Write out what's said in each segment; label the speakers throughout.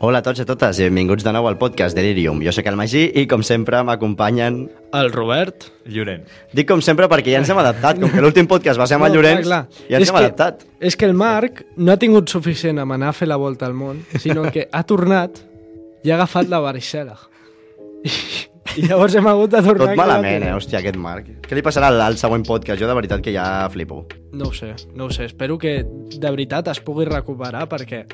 Speaker 1: Hola a tots i a totes i benvinguts de nou al podcast Delirium. Jo sóc el Magí i, com sempre, m'acompanyen...
Speaker 2: El Robert.
Speaker 3: Llorent.
Speaker 1: Dic com sempre perquè ja ens hem adaptat, com que l'últim podcast va ser amb el
Speaker 2: No,
Speaker 1: Llorenç,
Speaker 2: clar, clar.
Speaker 1: ja ens
Speaker 2: És
Speaker 1: hem
Speaker 2: que-
Speaker 1: adaptat.
Speaker 2: És que el Marc no ha tingut suficient amb anar a fer la volta al món, sinó que ha tornat i ha agafat la varicela. I, i llavors hem hagut de tornar...
Speaker 1: Tot
Speaker 2: a
Speaker 1: malament, eh?
Speaker 2: gravar.
Speaker 1: Hòstia, aquest Marc. Què li passarà al, al següent podcast? Jo de veritat que ja flipo.
Speaker 2: No ho sé, no ho sé. Espero que de veritat es pugui recuperar perquè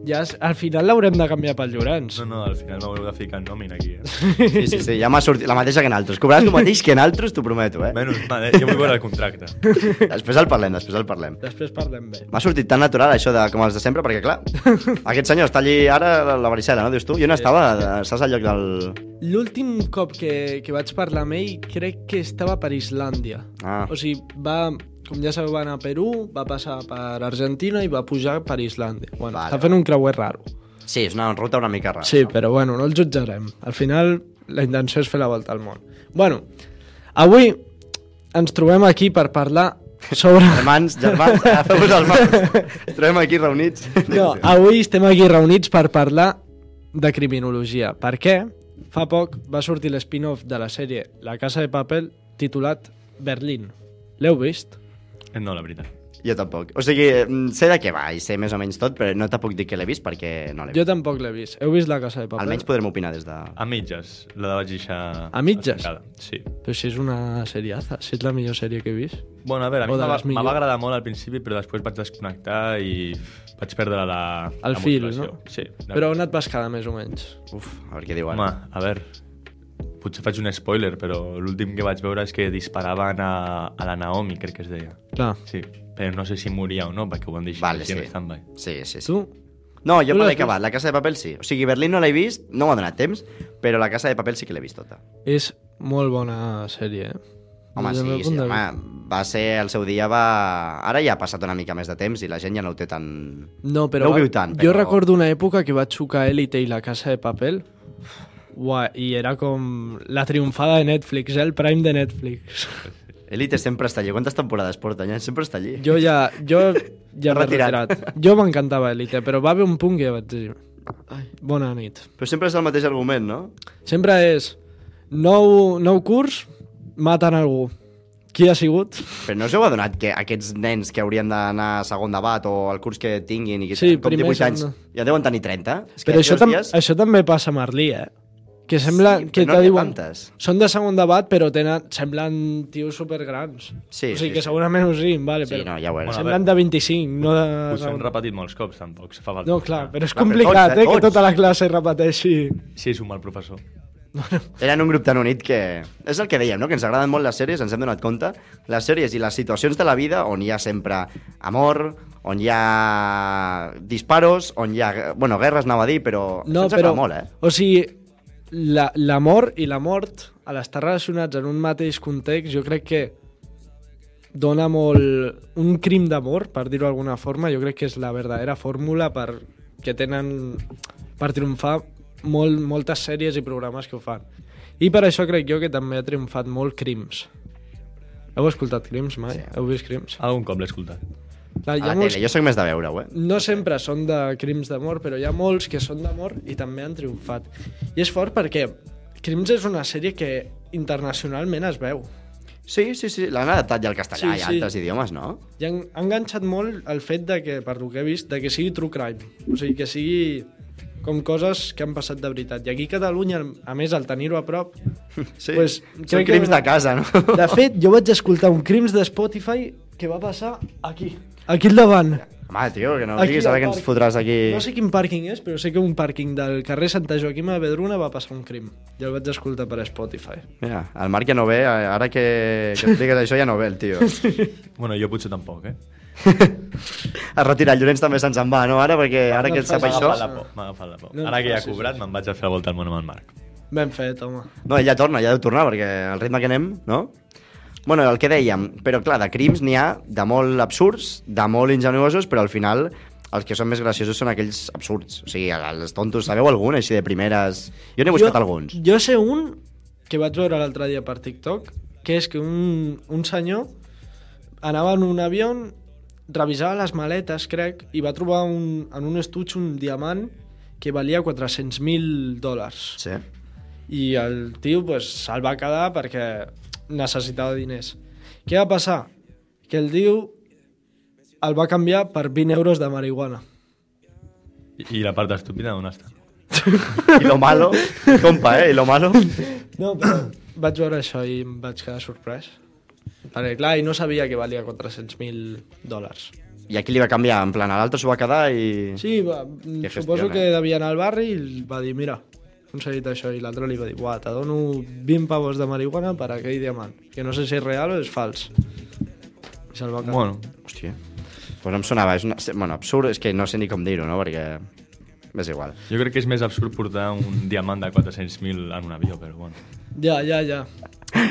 Speaker 2: ja es, al final l'haurem de canviar pel Llorenç.
Speaker 3: No, no, al final m'haureu de ficar en nòmina aquí, eh?
Speaker 1: Sí, sí, sí, ja m'ha sortit la mateixa que en altres. Cobraràs el mateix que en altres, t'ho prometo, eh?
Speaker 3: Menys mal, eh? Jo vull veure el contracte.
Speaker 1: Després el parlem, després el parlem.
Speaker 2: Després parlem bé.
Speaker 1: M'ha sortit tan natural això de com els de sempre, perquè clar, aquest senyor està allí ara a la varicela, no dius tu? Jo no estava, estàs al lloc del...
Speaker 2: L'últim cop que, que vaig parlar amb ell crec que estava per Islàndia.
Speaker 1: Ah,
Speaker 2: O sigui, va, com ja sabeu, va anar a Perú, va passar per Argentina i va pujar per Islàndia.
Speaker 1: Vale.
Speaker 2: Bueno, vale. està fent un creuer raro.
Speaker 1: sí, és una ruta una mica rara.
Speaker 2: Sí, però bueno, no el jutjarem. Al final, la intenció és fer la volta al món. Bueno, avui ens trobem aquí per parlar sobre...
Speaker 1: Germans, germans, agafeu-vos els mans. Ens trobem aquí reunits.
Speaker 2: No, avui estem aquí reunits per parlar de criminologia. Per què? Fa poc va sortir l'spin-off de la sèrie La Casa de Papel titulat Berlín. L'heu vist?
Speaker 3: Eh, No, la veritat.
Speaker 1: Jo tampoc. O sigui, mm, sé de què va i sé més o menys tot, però no te puc dir que l'he vist perquè no l'he
Speaker 2: Jo
Speaker 1: vist.
Speaker 2: tampoc l'he vist. Heu vist La Casa de Papel?
Speaker 1: Almenys podrem opinar des de...
Speaker 3: A mitges, la vaig deixar...
Speaker 2: A mitges?
Speaker 3: estancada. Sí.
Speaker 2: Però si és una seriaza, si és la millor sèrie que he vist.
Speaker 3: Bueno, a veure, a mi
Speaker 2: O de
Speaker 3: me va,
Speaker 2: les
Speaker 3: me
Speaker 2: millors.
Speaker 3: va agradar molt al principi, però després vaig desconnectar i vaig perdre la...
Speaker 2: El
Speaker 3: la
Speaker 2: fil,
Speaker 3: motivació.
Speaker 2: no?
Speaker 3: Sí. la
Speaker 2: Però on
Speaker 3: veritat.
Speaker 2: et vas quedar, més o menys?
Speaker 1: Uf, a veure què diuen.
Speaker 3: Home, a veure... Potser faig un spoiler, però l'últim que vaig veure és que disparaven a, a la Naomi, crec que es deia.
Speaker 2: Clar.
Speaker 3: Sí, però no sé si moria o no, perquè ho van deixar
Speaker 1: Vale,
Speaker 3: així en
Speaker 1: sí.
Speaker 3: stand-by.
Speaker 1: Sí, sí, sí.
Speaker 2: Tu?
Speaker 1: No, jo
Speaker 2: Tu
Speaker 1: me
Speaker 2: l'has
Speaker 1: l'he acabat. La Casa de Papel sí. O sigui, Berlín no l'he vist, no m'ha donat temps, però la Casa de Papel sí que l'he vist tota.
Speaker 2: És molt bona sèrie, eh?
Speaker 1: Home,
Speaker 2: Des del
Speaker 1: sí,
Speaker 2: meu
Speaker 1: sí,
Speaker 2: punt de
Speaker 1: home, va ser, el seu dia va... Ara ja ha passat una mica més de temps i la gent ja no ho té tan...
Speaker 2: vista. No, però
Speaker 1: No ho viu tant,
Speaker 2: jo
Speaker 1: però-
Speaker 2: recordo una època que vaig xocar Elite i La Casa de Papel Ua, i era com la triomfada de Netflix, eh? el prime de Netflix.
Speaker 1: Elite sempre està allí. Quantes temporades porta? Ja sempre està allí.
Speaker 2: Jo ja, jo ja m'he
Speaker 1: Retirat.
Speaker 2: retirat. Jo m'encantava Elite, però va haver un punt que vaig dir... Bona nit.
Speaker 1: Però sempre és el mateix argument, no?
Speaker 2: Sempre és nou, nou curs, maten algú. Qui ha sigut?
Speaker 1: Però no us heu adonat que aquests nens que haurien d'anar a segon debat o al curs que tinguin i que
Speaker 2: Sí,
Speaker 1: tenen com
Speaker 2: primer
Speaker 1: 18 anys
Speaker 2: són-
Speaker 1: ja deuen tenir 30? És
Speaker 2: Però això,
Speaker 1: aquests
Speaker 2: tam
Speaker 1: dies-
Speaker 2: això també passa a Merlí, eh? Que sembla
Speaker 1: Sí,
Speaker 2: que
Speaker 1: però no n'hi
Speaker 2: te
Speaker 1: ha
Speaker 2: diuen...
Speaker 1: tantes.
Speaker 2: Són de segon debat, però tenen, semblen tios supergrans.
Speaker 1: Sí,
Speaker 2: o
Speaker 1: sí,
Speaker 2: sigui, que
Speaker 1: sí.
Speaker 2: segurament ho siguin, vale,
Speaker 1: Sí,
Speaker 2: però
Speaker 1: no, ja ho veuràs.
Speaker 3: Bueno,
Speaker 2: semblen de 25, no de...
Speaker 3: Potser han
Speaker 2: segon-
Speaker 3: repetit molts cops, tampoc. se Fa falta.
Speaker 2: Ah, No, clar, però és
Speaker 1: Clar, però
Speaker 2: complicat,
Speaker 1: tots, eh,
Speaker 2: eh,
Speaker 1: tots.
Speaker 2: que tota la classe repeteixi...
Speaker 3: Sí, és un mal professor.
Speaker 1: Eren un grup tan unit que... És el que dèiem, no? Que ens agraden molt les sèries, ens hem donat compte. Les sèries i les situacions de la vida on hi ha sempre amor, on hi ha disparos, on hi ha... Bueno, guerres anava a dir, però... això
Speaker 2: No,
Speaker 1: ens
Speaker 2: però...
Speaker 1: agrada molt, eh?
Speaker 2: O sigui, la- l'amor i la mort, a l'estar relacionats en un mateix context, jo crec que dona molt... Un crim d'amor, per dir-ho d'alguna forma, jo crec que és la verdadera fórmula per, que tenen per triomfar molt, moltes sèries i programes que ho fan. I per això crec jo que també ha triomfat molt Crims. Heu escoltat Crims
Speaker 1: Sí.
Speaker 2: mai? Sí. Heu vist Crims?
Speaker 3: Algun cop l'he escoltat.
Speaker 2: Clar, hi
Speaker 1: A la
Speaker 2: ha molts...
Speaker 1: tele, jo sóc més de veure-ho, eh?
Speaker 2: No sempre són de crims d'amor, però hi ha molts que són d'amor i també han triomfat. I és fort perquè Crims és una sèrie que internacionalment es veu.
Speaker 1: Sí, sí, sí, l'han adaptat ja al castellà
Speaker 2: Sí,
Speaker 1: i a
Speaker 2: sí.
Speaker 1: altres idiomes, no?
Speaker 2: I han, han enganxat molt el fet de que, per lo que he vist, de que sigui true crime. O sigui, que sigui com coses que han passat de veritat. I aquí a Catalunya, a més, al tenir-ho a prop...
Speaker 1: Sí,
Speaker 2: Pues,
Speaker 1: són
Speaker 2: crec que-
Speaker 1: crims de casa, no?
Speaker 2: De fet, jo vaig escoltar un Crims de Spotify que va passar aquí, aquí al davant.
Speaker 1: Home, tio, que no
Speaker 2: Aquí
Speaker 1: diguis ara
Speaker 2: al
Speaker 1: que ens
Speaker 2: parc.
Speaker 1: fotràs aquí...
Speaker 2: No sé quin pàrquing és, però sé que un pàrquing del carrer Santa Joaquima de Vedruna va passar un crim. Jo el vaig escoltar per Spotify.
Speaker 1: Mira, el Marc ja no ve, ara que, que expliques això ja no ve el tio. Es
Speaker 3: Bueno, jo potser tampoc, eh?
Speaker 1: retira, el Llorenç també se'ns en va, no? Ara, perquè ara
Speaker 2: No
Speaker 1: que
Speaker 2: et
Speaker 1: ell sap
Speaker 2: facis
Speaker 1: això...
Speaker 3: M'ha agafat la por, m'ha agafat la por.
Speaker 2: No, no,
Speaker 3: Ara que ja
Speaker 2: sí,
Speaker 3: ha
Speaker 2: sí,
Speaker 3: cobrat, me'n vaig a fer la volta al món amb el Marc.
Speaker 2: Ben fet, home.
Speaker 1: No, ell ja torna, ja deu tornar, perquè al ritme que anem, no? Bueno, el que dèiem, però clar, de crims n'hi ha de molt absurds, de molt ingenuosos, però al final els que són més graciosos són aquells absurds. O sigui, els tontos, sabeu algun així de primeres? Jo n'he buscat alguns.
Speaker 2: Jo sé un que vaig veure l'altre dia per TikTok, que és que un, un senyor anava en un avió, revisava les maletes, crec, i va trobar un, en un estuig un diamant que valia 400.000 dòlars.
Speaker 1: Sí.
Speaker 2: i el tio pues, se'l va quedar perquè necessitava diners. Què va passar? Que el tio el va canviar per 20 euros de marihuana.
Speaker 3: I, i la part estúpida on està?
Speaker 1: I lo malo, compa, eh? I lo malo.
Speaker 2: No, però vaig veure això i em vaig quedar sorprès. Perquè, clar, i no sabia que valia 400.000 dòlars.
Speaker 1: I aquí li va canviar, en plan, a l'altre s'ho va quedar i...
Speaker 2: Sí, va, Mm, suposo
Speaker 1: gestiona.
Speaker 2: que devia anar al barri i li va dir, mira, he aconseguit això. I l'altre li va dir, buah, te dono 20 pavos de marihuana per aquell diamant. Que no sé si és real o és fals. I se'l va quedar.
Speaker 3: Bueno,
Speaker 1: Hòstia. Pues no em sonava. És una... Bueno, absurd, és que no sé ni com dir-ho, no? Perquè... És igual.
Speaker 3: jo crec que és més absurd portar un diamant de 400.000 en un avió, però bueno.
Speaker 2: Ja, ja, ja.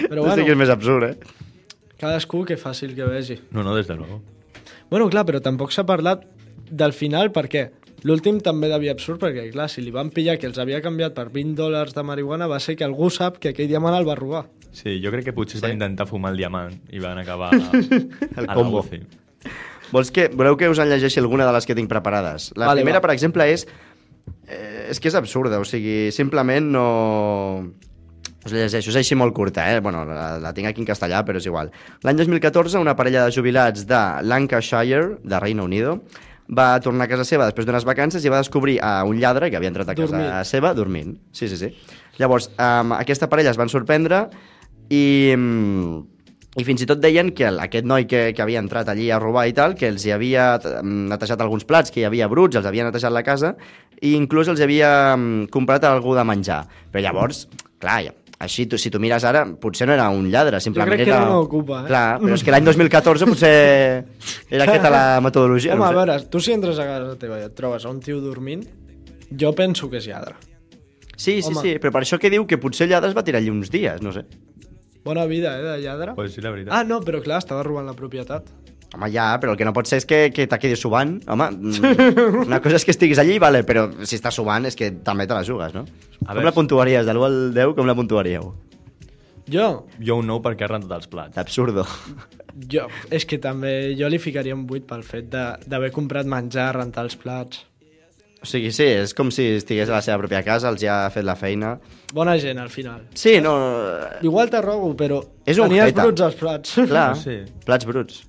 Speaker 2: Però
Speaker 1: no sé què és
Speaker 2: bueno,
Speaker 1: més absurd, eh?
Speaker 2: cadascú que fàcil que vegi.
Speaker 3: No, no, des de luego.
Speaker 2: Bueno, clar, però tampoc s'ha parlat del final perquè l'últim també devia absurd perquè, clar, si li van pillar que els havia canviat per 20 dòlars de marihuana va ser que algú sap que aquell diamant el va robar.
Speaker 3: Sí, jo crec que potser sí. van intentar fumar el diamant i van acabar
Speaker 1: El
Speaker 3: a la
Speaker 1: combo.
Speaker 3: UCI.
Speaker 1: Vols que... Voleu que us en llegeixi alguna de les que tinc preparades? La
Speaker 2: Vale,
Speaker 1: primera,
Speaker 2: va.
Speaker 1: per exemple, és... Eh, és que és absurda, o sigui, simplement no... Us la llegeixo, és així molt curta, eh? Bueno, la, la tinc aquí en castellà, però és igual. L'any 2014, una parella de jubilats de Lancashire, de Reino Unido, va tornar a casa seva després d'unes vacances i va descobrir a un lladre que havia entrat a casa
Speaker 2: Dormint.
Speaker 1: seva dormint. Sí, sí, sí. Llavors, um, aquesta parella es van sorprendre i... mm, i fins i tot deien que el- aquest noi que, que havia entrat allí a robar i tal, que els hi havia mm, netejat alguns plats, que hi havia bruts, els havia netejat la casa, i inclús els havia mm, comprat algú de menjar. Però llavors, clar, ja- així, tu, si tu mires ara, potser no era un lladre, simplement
Speaker 2: crec que
Speaker 1: era...
Speaker 2: era una ocupa, eh?
Speaker 1: Clar, però és que l'any 2014 potser era aquesta la metodologia.
Speaker 2: Home,
Speaker 1: no
Speaker 2: a
Speaker 1: ho sé.
Speaker 2: veure, tu si entres a casa teva i et trobes a un tio dormint, jo penso que és lladre.
Speaker 1: Sí, sí,
Speaker 2: Home.
Speaker 1: sí, però per això que diu que potser el lladre es va tirar allí uns dies, no sé.
Speaker 2: Bona vida, eh, de lladre.
Speaker 3: Pues sí, la veritat.
Speaker 2: Ah, no, però clar, estava robant la propietat.
Speaker 1: Home, ja, però el que no pot ser és que, que te quedis subant. Home, mm, una cosa és que estiguis allí, vale, però si estàs subant és que també te la jugues, no?
Speaker 3: A
Speaker 1: com
Speaker 3: veure.
Speaker 1: la puntuaries? De l'1 al 10, com la puntuaríeu?
Speaker 2: Jo,
Speaker 3: Jo un nou perquè arran tot els plats.
Speaker 1: Absurdo.
Speaker 2: jo, és que també jo li ficaria un 8 pel fet de- d'haver comprat menjar, rentar els plats.
Speaker 1: O sigui, sí, és com si estigués a la seva pròpia casa, els ja ha fet la feina.
Speaker 2: Bona gent, al final.
Speaker 1: Sí, no...
Speaker 2: Igual te robo, però
Speaker 1: És
Speaker 2: és
Speaker 1: un
Speaker 2: tenies
Speaker 1: jeta.
Speaker 2: bruts als plats.
Speaker 1: Clar,
Speaker 3: Sí.
Speaker 1: plats bruts.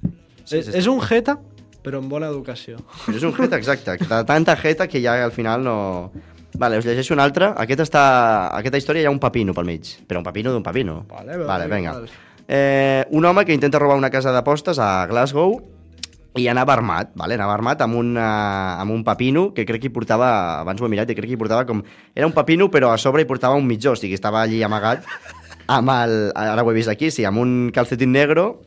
Speaker 2: és, és un jeta, però amb bona educació.
Speaker 1: És un hit, exacte. De tanta jeta que ja al final no... Vale, us llegeixo una altra. Aquest està... Aquesta història hi ha un papino pel mig. Però un papino d'un papino.
Speaker 2: Vale, vale,
Speaker 1: vale vinga.
Speaker 2: vale.
Speaker 1: Eh, un home que intenta robar una casa d'apostes a Glasgow i anava armat, vale? anava armat amb un, eh, amb un papino que crec que hi portava, abans ho he mirat, i crec que hi portava com... Era un papino però a sobre hi portava un mitjó, o sigui, estava allí amagat amb el, ara ho he vist aquí, sí, amb un calcetín negro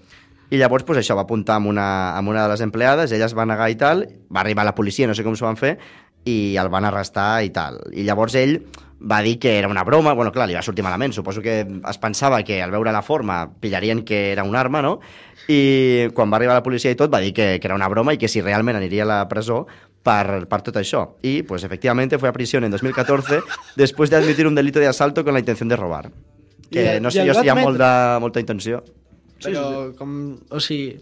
Speaker 1: i llavors pues, això va apuntar amb una, amb una de les empleades, ella es va negar i tal, va arribar la policia, no sé com s'ho van fer, i el van arrestar i tal. I llavors ell va dir que era una broma, bueno, clar, li va sortir malament, suposo que es pensava que al veure la forma pillarien que era un arma, no? I quan va arribar la policia i tot va dir que, que era una broma i que si realment aniria a la presó per, per tot això. I, pues, efectivamente, fue a prisión en 2014 después de admitir un delito de asalto con la intención de robar. Que
Speaker 2: I- eh,
Speaker 1: no
Speaker 2: i
Speaker 1: sé
Speaker 2: el
Speaker 1: jo si hi ha
Speaker 2: va
Speaker 1: molt de, molta intenció.
Speaker 2: Però com... O sigui...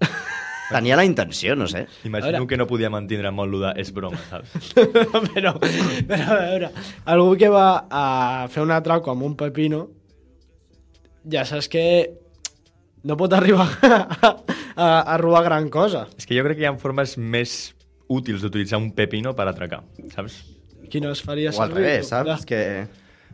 Speaker 1: Tenia la intenció, no sé.
Speaker 3: Imagino
Speaker 2: A veure.
Speaker 3: que no podia mantindre molt lo de és broma, saps?
Speaker 2: però, però, a veure, algú que va a fer un atraco amb un pepino, ja saps que no pot arribar a, a, a robar gran cosa.
Speaker 3: És que jo crec que hi ha formes més útils d'utilitzar un pepino per atracar, saps?
Speaker 2: Qui no es faria
Speaker 1: O al
Speaker 2: servir?
Speaker 1: revés,
Speaker 2: Va,
Speaker 1: saps? Que...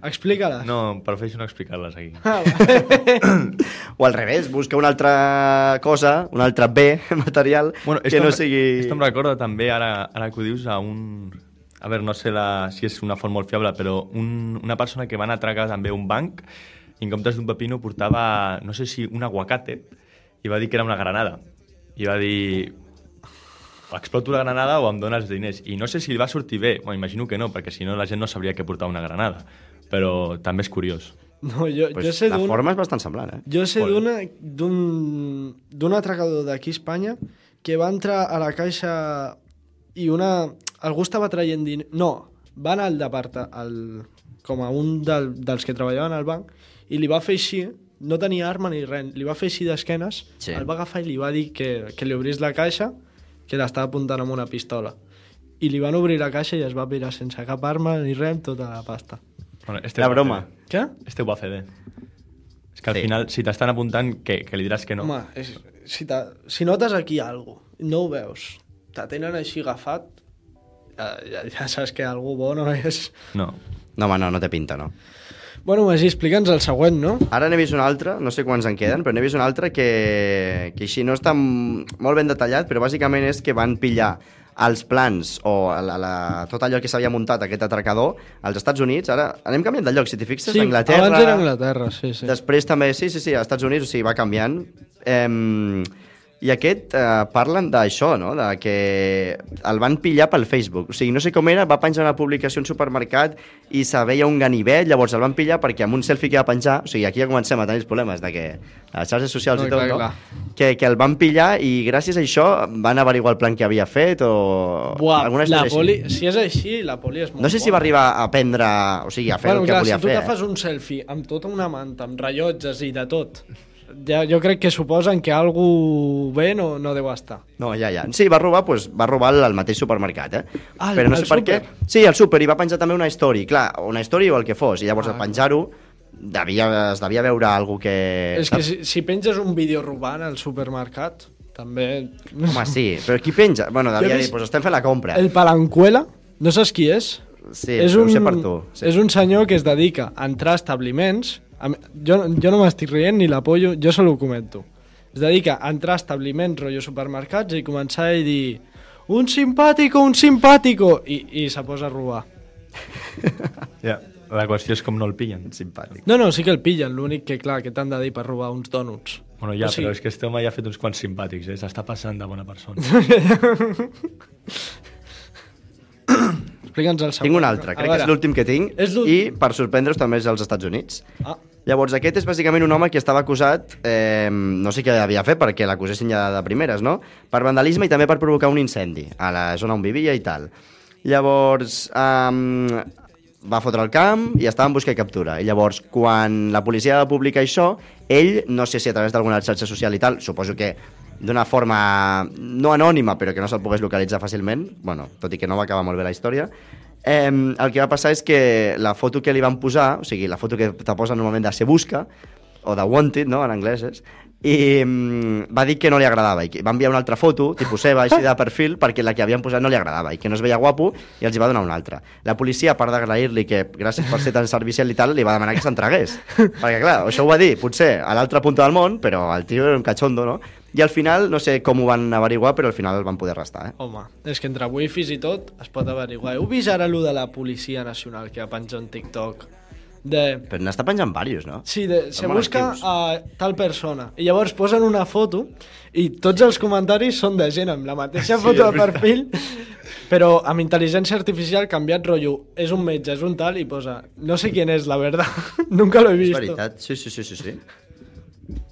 Speaker 2: Explica-la.
Speaker 3: No, prefereixo no explicar-les aquí.
Speaker 2: Ah, va.
Speaker 1: O al revés, busca una altra cosa, un altre bé material bueno, que
Speaker 3: esto
Speaker 1: no
Speaker 3: em-
Speaker 1: sigui...
Speaker 3: Esto em recorda també, ara, ara que ho dius, a un... A veure, no sé la, si és una font molt fiable, però un, una persona que va anar a atracar també un banc i en comptes d'un pepino portava, no sé si un aguacate, i va dir que era una granada. I va dir, o exploto la granada o em dones diners. I no sé si li va sortir bé, bueno, imagino que no, perquè si no la gent no sabria que portava una granada. Però també és curiós.
Speaker 2: no, jo,
Speaker 1: Pues
Speaker 2: jo sé
Speaker 1: la
Speaker 2: d'un...
Speaker 1: forma és bastant semblant, eh?
Speaker 2: Jo sé
Speaker 3: Molt bé.
Speaker 2: d'una- d'un d'un atracador d'aquí a Espanya que va entrar a la caixa i una... Algú estava traient diners... No, va anar al departa, al, com a un del, dels que treballaven al banc i li va fer així, no tenia arma ni res, li va fer així d'esquenes,
Speaker 1: Sí.
Speaker 2: sí. el va agafar i li va dir que, que li obrís la caixa que l'estava apuntant amb una pistola. I li van obrir la caixa i es va pirar sense cap arma ni res amb tota la pasta.
Speaker 3: Bueno, este
Speaker 1: Era
Speaker 3: va
Speaker 1: broma.
Speaker 3: fer bé.
Speaker 2: Què?
Speaker 3: Este ho va fer bé. És que al
Speaker 1: Sí.
Speaker 3: final, si t'estan apuntant, que, que li diràs que no.
Speaker 2: Home, és, si, te- si notes aquí alguna no ho veus, te tenen així agafat, ja, ja, ja saps que algú bo no és...
Speaker 3: No.
Speaker 1: No, home, no, no té pinta, no.
Speaker 2: Bueno, Magí, explica'ns el següent, no?
Speaker 1: Ara n'he vist un altre, no sé quants en queden, però n'he vist un altre que, que així no està m- molt ben detallat, però bàsicament és que van pillar els plans o la, la, tot allò que s'havia muntat aquest atracador als Estats Units. Ara anem canviant de lloc, si t'hi fixes, Anglaterra...
Speaker 2: abans era Anglaterra, sí, sí. Des...
Speaker 1: Després també, sí, sí, sí, als Estats Units, o sigui, va canviant. Em, I aquest eh, parlen d'això, no? De que el van pillar pel Facebook. O sigui, no sé com era, va penjar una publicació en supermercat i se veia un ganivet, llavors el van pillar perquè amb un selfie que va penjar, o sigui, aquí ja comencem a tenir els problemes de que a les xarxes socials
Speaker 2: No,
Speaker 1: i tot,
Speaker 2: clar,
Speaker 1: no?
Speaker 2: clar.
Speaker 1: Que, que el van pillar i gràcies a això van averiguar el plan que havia fet o...
Speaker 2: Buah,
Speaker 1: alguna
Speaker 2: la
Speaker 1: història així.
Speaker 2: poli... Si és així, la poli és molt
Speaker 1: No sé si va
Speaker 2: bona.
Speaker 1: arribar a prendre, o sigui, a fer
Speaker 2: bueno,
Speaker 1: el que
Speaker 2: clar,
Speaker 1: volia
Speaker 2: si tu
Speaker 1: fer. eh?
Speaker 2: te fas un selfie amb tota una manta, amb rellotges i de tot, ja, jo crec que suposen que algú bé no, no deu estar.
Speaker 1: No, ja, ja. Sí, va robar, pues, va robar al mateix supermercat, eh?
Speaker 2: Ah, al-
Speaker 1: Però no
Speaker 2: al
Speaker 1: sé per
Speaker 2: súper.
Speaker 1: què. Sí, al súper, i va penjar també una story, clar, una story o el que fos, i llavors
Speaker 2: Ah,
Speaker 1: al penjar-ho devia, es devia veure algú que...
Speaker 2: és que si, si penges un vídeo robant al supermercat, també...
Speaker 1: Home, sí, però qui penja? Bueno,
Speaker 2: Jo
Speaker 1: devia
Speaker 2: he
Speaker 1: dir,
Speaker 2: vist-
Speaker 1: pues estem fent la compra.
Speaker 2: El Palancuela, no saps qui és?
Speaker 1: Sí, però ho sé per tu. Sí.
Speaker 2: És un senyor que es dedica a entrar a establiments... A, mi- jo, jo no m'estic rient ni l'apollo, jo se ho comento. Es dedica a entrar a establiments, rotllo supermercats, i començar a dir un simpàtico, un simpàtico, i, i se posa a robar.
Speaker 3: Ja. La qüestió és com no el pillen.
Speaker 1: Simpàtic.
Speaker 2: No, no, sí que el pillen, l'únic que, clar, que t'han de dir per robar uns dònuts.
Speaker 3: Bueno, ja,
Speaker 2: O sigui-
Speaker 3: però és que este home ja ha fet uns quants simpàtics, eh? S'està passant de bona persona.
Speaker 2: Explica'ns el següent.
Speaker 1: Tinc un altre,
Speaker 2: A
Speaker 1: crec que és
Speaker 2: veure.
Speaker 1: l'últim que tinc,
Speaker 2: És l'últim.
Speaker 1: i per sorprendre-us també és als Estats Units.
Speaker 2: Ah,
Speaker 1: Llavors, aquest és bàsicament un home que estava acusat, eh, no sé què havia fet perquè l'acusessin ja de primeres, no? Per vandalisme i també per provocar un incendi a la zona on vivia i tal. Llavors, eh, va fotre el camp i estava en busca i captura. I llavors, quan la policia va publicar això, ell, no sé si a través d'alguna xarxa social i tal, suposo que d'una forma no anònima, però que no se'l pogués localitzar fàcilment, bueno, tot i que no va acabar molt bé la història, eh, el que va passar és que la foto que li van posar, o sigui, la foto que te posa normalment de Se Busca, o de Wanted, no?, en anglès és, i mm, va dir que no li agradava i que va enviar una altra foto, tipus seva, així de perfil, perquè la que havien posat no li agradava i que no es veia guapo i els hi va donar una altra. La policia, a part d'agrair-li que gràcies per ser tan servicial i tal, li va demanar que s'entregués. Perquè, clar, això ho va dir, potser a l'altra punta del món, però el tio era un cachondo, no? I al final, no sé com ho van averiguar, però al final el van poder arrestar, eh?
Speaker 2: Home, és que entre wifis i tot es pot averiguar. Heu vist ara allò de la Policia Nacional que va penjar un TikTok? De...
Speaker 1: Però n'està penjant diversos, no?
Speaker 2: Sí, de, se
Speaker 1: Són molt
Speaker 2: busca
Speaker 1: actius.
Speaker 2: a tal persona. I llavors posen una foto i tots els comentaris són de gent amb la mateixa foto de perfil, però amb intel·ligència artificial canviat rotllo. És un metge, és un tal, i posa... No sé quién és, la verdad. Nunca lo he
Speaker 1: És
Speaker 2: visto.
Speaker 1: veritat, sí, sí, sí, sí, sí.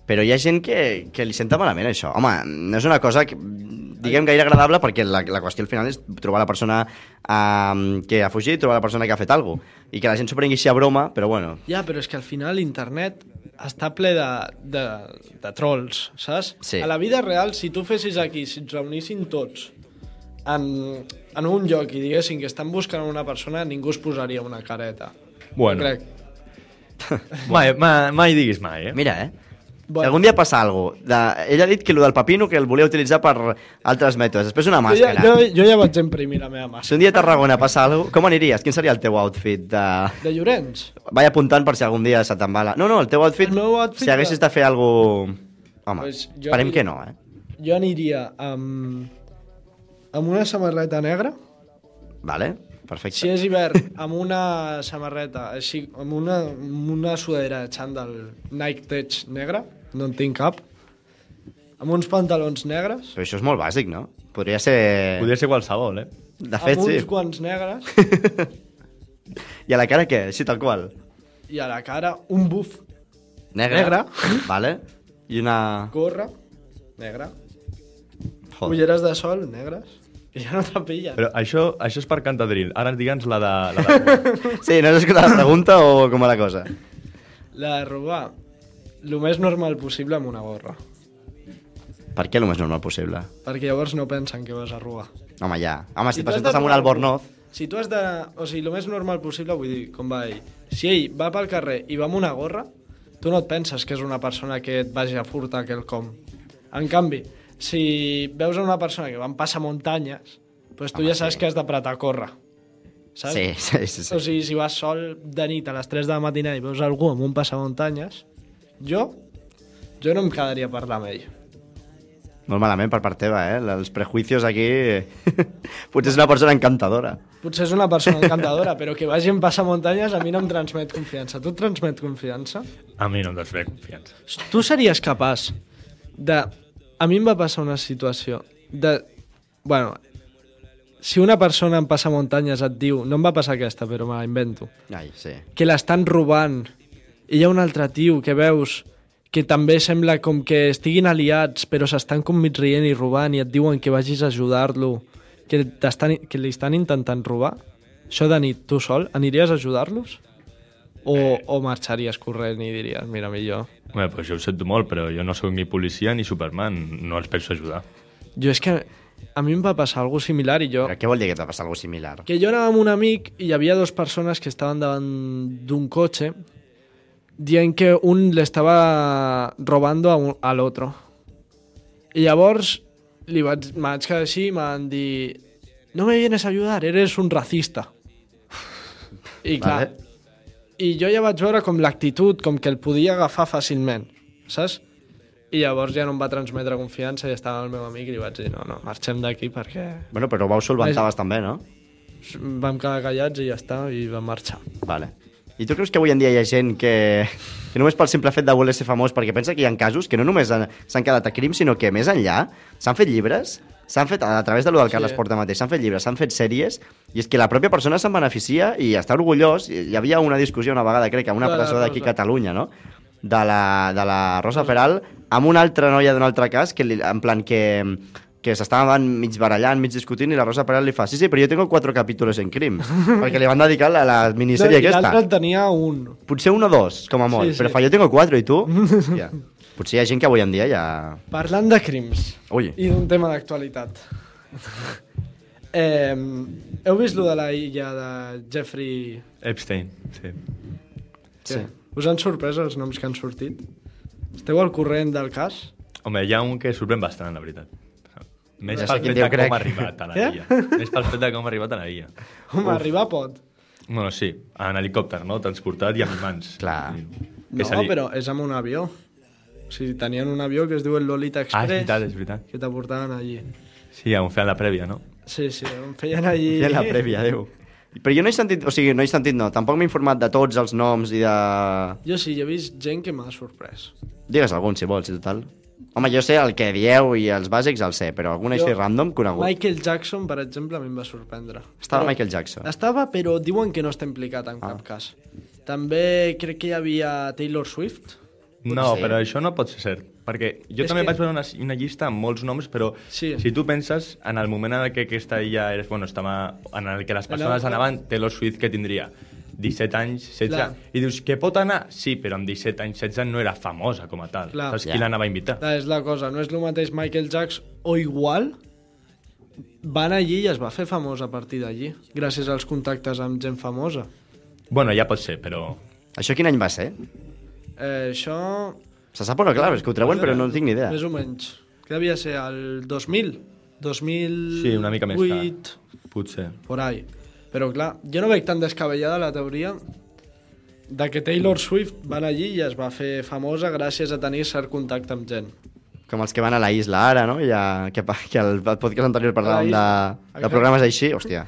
Speaker 1: Però hi ha gent que, que li senta malament això. Home, no és una cosa que, diguem gaire agradable perquè la, la qüestió al final és trobar la persona um, que ha fugit, trobar la persona que ha fet alguna cosa. I que la gent s'ho prengui així a broma, però bueno.
Speaker 2: Ja, però és que al final internet està ple de, de, de trolls, saps?
Speaker 1: Sí.
Speaker 2: A la vida real, si tu fessis aquí, si ens reunissin tots en, en un lloc i diguessin que estan buscant una persona, ningú es posaria una careta.
Speaker 3: Bueno.
Speaker 2: Crec.
Speaker 3: mai, mai, mai diguis mai, eh?
Speaker 1: Mira, eh? Si algun dia passa alguna cosa, de... ella ha dit que el del papino que el volia utilitzar per altres mètodes. Després una
Speaker 2: jo, ja,
Speaker 1: màscara.
Speaker 2: jo, jo ja vaig imprimir la meva
Speaker 1: Si
Speaker 2: màscara.
Speaker 1: un dia a Tarragona passa alguna cosa, com aniries? Quin seria el teu outfit de...
Speaker 2: De Llorenç?
Speaker 1: Vaig apuntant per si algun dia se te'n va la... No, no, el teu outfit...
Speaker 2: El meu outfit
Speaker 1: Si haguessis de fer algo... Home,
Speaker 2: Pues
Speaker 1: pues
Speaker 2: jo
Speaker 1: esperem
Speaker 2: aniré-
Speaker 1: que no, eh?
Speaker 2: Jo aniria amb, amb una samarreta negra,
Speaker 1: Vale, perfecte.
Speaker 2: si és hivern, amb una samarreta, així, amb una, amb una sudadera de xandall Nike Tech negra, no en tinc cap, amb uns pantalons negres,
Speaker 1: Però això és molt bàsic, no? Podria ser...
Speaker 3: Podria ser qualsevol, eh?
Speaker 1: De fet,
Speaker 2: amb uns
Speaker 1: sí.
Speaker 2: guants negres
Speaker 1: I a la cara què? Així tal qual?
Speaker 2: i a la cara un buf,
Speaker 1: Negra.
Speaker 2: Negra.
Speaker 1: Vale. I una...
Speaker 2: gorra, negra,
Speaker 1: Joder.
Speaker 2: ulleres de sol, negres, i ja no te pillen.
Speaker 3: Però això, això és per Cantadril. Ara digue'ns la de... La de...
Speaker 1: Sí, no has escoltat la pregunta o com va la cosa?
Speaker 2: La de robar, el més normal possible amb una gorra,
Speaker 1: Per què el més normal possible?
Speaker 2: perquè llavors no pensen que vas a robar.
Speaker 1: Home, ja. Home, si
Speaker 2: Si
Speaker 1: et
Speaker 2: tu has
Speaker 1: presentes
Speaker 2: de
Speaker 1: amb un
Speaker 2: trobar
Speaker 1: albornoz...
Speaker 2: algú- Si tu has de... O sigui, el més normal possible, vull dir, com va ell. Si ell va pel carrer i va amb una gorra, tu no et penses que és una persona que et vagi a furtar quelcom. En canvi, si veus a una persona que va en passamuntanyes, doncs tu
Speaker 1: Home,
Speaker 2: Home, ja saps
Speaker 1: sí.
Speaker 2: sí. que has d'apretar a córrer. Saps?
Speaker 1: Sí, sí, sí.
Speaker 2: O
Speaker 1: sí.
Speaker 2: sigui, si vas sol de nit a les 3 de la matina i veus algú amb un passamuntanyes, jo, jo no em quedaria a parlar amb ell.
Speaker 1: Molt malament per part teva, eh? Els prejuicios aquí... Potser és una persona encantadora.
Speaker 2: Potser és una persona encantadora, però que vagi en passamuntanyes a mi no em transmet confiança. Tu et transmet confiança?
Speaker 3: A mi no em desvé confiança.
Speaker 2: Tu series capaç de... A mi em va passar una situació de... Bueno, si una persona en passamuntanyes et diu... No em va passar aquesta, però me la invento.
Speaker 1: Ai, sí.
Speaker 2: Que l'estan robant i hi ha un altre tio que veus que també sembla com que estiguin aliats però s'estan com mig rient i robant i et diuen que vagis a ajudar-lo que, t'estan- que li estan intentant robar això de nit, tu sol, aniries a ajudar-los? O, o marxaries corrent i diries, mira, millor
Speaker 3: Bé, doncs jo ho sento molt, però jo no sóc ni policia ni Superman. No els penso ajudar.
Speaker 2: Jo és que a mi em va passar alguna similar i jo...
Speaker 1: Però què vol dir que t'ha passat alguna similar?
Speaker 2: Que jo anava amb un amic i hi havia dues persones que estaven davant d'un cotxe dient que un l'estava robando a, un, a l'altre. I llavors li vaig, me vaig quedar així i m'han dit no me vienes a ayudar, eres un racista. I clar,
Speaker 1: Vale.
Speaker 2: i jo ja vaig veure com l'actitud, com que el podia agafar fàcilment, saps? I llavors ja no em va transmetre confiança i estava el meu amic i li vaig dir no, no, marxem d'aquí perquè
Speaker 1: Bueno, però ho vau solventaves
Speaker 2: Vaja.
Speaker 1: també, no?
Speaker 2: vam quedar callats i ja està, i vam marxar.
Speaker 1: Vale. I tu creus que avui en dia hi ha gent que, que només pel simple fet de voler ser famós, perquè pensa que hi ha casos que no només han- s'han quedat a crim, sinó que més enllà s'han fet llibres, s'han fet, a través de lo del Carles
Speaker 2: Sí.
Speaker 1: Porta mateix, s'han fet llibres, s'han fet sèries, i és que la pròpia persona se'n beneficia i està orgullós. I Hi havia una discussió una vegada, crec, a una
Speaker 2: De la
Speaker 1: presó d'aquí a
Speaker 2: Rosa.
Speaker 1: Catalunya, no? De la, de la Rosa Peral, amb una altra noia d'un altre cas, que li, en plan que que s'estaven mig barallant, mig discutint, i la Rosa Peral li fa, sí, sí, però jo tengo cuatro capítulos en crim, perquè li van dedicar la, la miniserie
Speaker 2: I
Speaker 1: aquesta.
Speaker 2: l'altre en tenia un.
Speaker 1: Potser un o dos, com a molt.
Speaker 2: Sí, sí.
Speaker 1: Però fa, jo tengo cuatro, i tu? Hòstia. Potser hi ha gent que avui en dia ja...
Speaker 2: Parlant de crims
Speaker 1: Ui.
Speaker 2: i d'un tema d'actualitat. eh, heu vist lo de la illa de Jeffrey...
Speaker 3: Epstein, sí.
Speaker 1: Sí.
Speaker 2: Us han sorprès els noms que han sortit? Esteu al corrent del cas?
Speaker 3: Home, hi ha un que sorprèn bastant, la veritat. Més
Speaker 1: Ja sé
Speaker 3: pel
Speaker 1: quin
Speaker 3: fet de
Speaker 1: diu, crec.
Speaker 3: com ha arribat a la
Speaker 2: Eh?
Speaker 3: via. Més pel fet de com ha arribat a la via.
Speaker 2: Home, arribar pot.
Speaker 3: Bueno, sí, en helicòpter, no? Transportat i amb mans.
Speaker 1: Clar.
Speaker 2: No, però és amb un avió. O sigui, tenien un avió que es diu el Lolita
Speaker 3: Ah, és
Speaker 2: Express,
Speaker 3: veritat, és veritat.
Speaker 2: que t'aportaven allí.
Speaker 3: Sí, on feien la prèvia, no?
Speaker 2: Sí, sí, em feien allí...
Speaker 1: I... la prèvia, adéu. Però jo no he sentit, o sigui, no he sentit, no. Tampoc m'he informat de tots els noms i de...
Speaker 2: Jo sí, jo he vist gent que m'ha sorprès.
Speaker 1: Digues algun, si vols, i total. Home, jo sé el que dieu i els bàsics els sé, però algun així
Speaker 2: Jo-
Speaker 1: random conegut. Mike...
Speaker 2: Michael Jackson, per exemple, a mi em va sorprendre.
Speaker 1: Estava
Speaker 2: Però-
Speaker 1: Michael Jackson. Ah.
Speaker 2: Estava, però diuen que no està implicat en cap cas. També crec que hi havia Taylor Swift.
Speaker 3: No,
Speaker 1: ser.
Speaker 3: però això no pot ser cert. Perquè jo
Speaker 2: És
Speaker 3: també
Speaker 2: que-
Speaker 3: vaig veure una, una llista amb molts noms, però
Speaker 2: Sí.
Speaker 3: si tu penses en el moment en el que aquesta illa era, bueno, estava, en el que les persones
Speaker 2: Era-
Speaker 3: anaven, Taylor Swift que tindria 17 anys, 16,
Speaker 2: Clar.
Speaker 3: i dius que pot anar? Sí, però amb 17 anys, 16 no era famosa com a tal.
Speaker 2: Clar.
Speaker 3: Saps
Speaker 1: Ja.
Speaker 3: qui l'anava a invitar?
Speaker 2: Clar, Ah, és la cosa, no és el mateix Michael Jackson o igual van allí i es va fer famosa a partir d'allí, gràcies als contactes amb gent famosa.
Speaker 3: Bueno, ja pot ser, però...
Speaker 1: Això quin any va ser?
Speaker 2: Eh, això...
Speaker 1: Se sap o no, clar, és que ho treuen, però no en tinc ni idea.
Speaker 2: Més o menys. Que devia ser el 2000, 2008...
Speaker 3: Sí, una mica més tard. Potser.
Speaker 2: Por ahí. Però clar, jo no veig tan descabellada la teoria de que Taylor Swift va anar allí i es va fer famosa gràcies a tenir cert contacte amb gent.
Speaker 1: Com els que van a la isla ara, no? Ja, que, pa- que el podcast anterior parlàvem
Speaker 2: A
Speaker 1: de,
Speaker 2: la
Speaker 1: de
Speaker 2: Exacte.
Speaker 1: programes així, hòstia.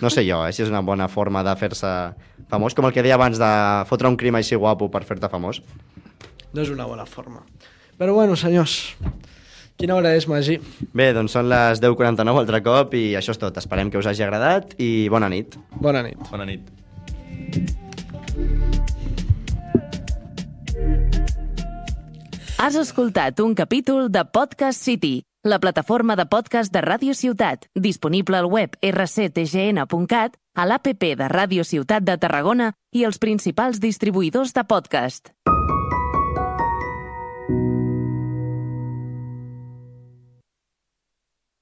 Speaker 1: No sé jo, eh, si és una bona forma de fer-se famós, com el que deia abans de fotre un crim així guapo per fer-te famós.
Speaker 2: No és una bona forma. Però bueno, senyors, quina hora és, Magí?
Speaker 1: Bé, doncs són les 10.49 altre cop i això és tot. Esperem que us hagi agradat i bona nit.
Speaker 2: Bona nit.
Speaker 3: Bona nit.
Speaker 4: Has escoltat un capítol de Podcast City, la plataforma de podcast de Ràdio Ciutat, disponible al web rctgn.cat, a l'APP de Ràdio Ciutat de Tarragona i els principals distribuïdors de podcast.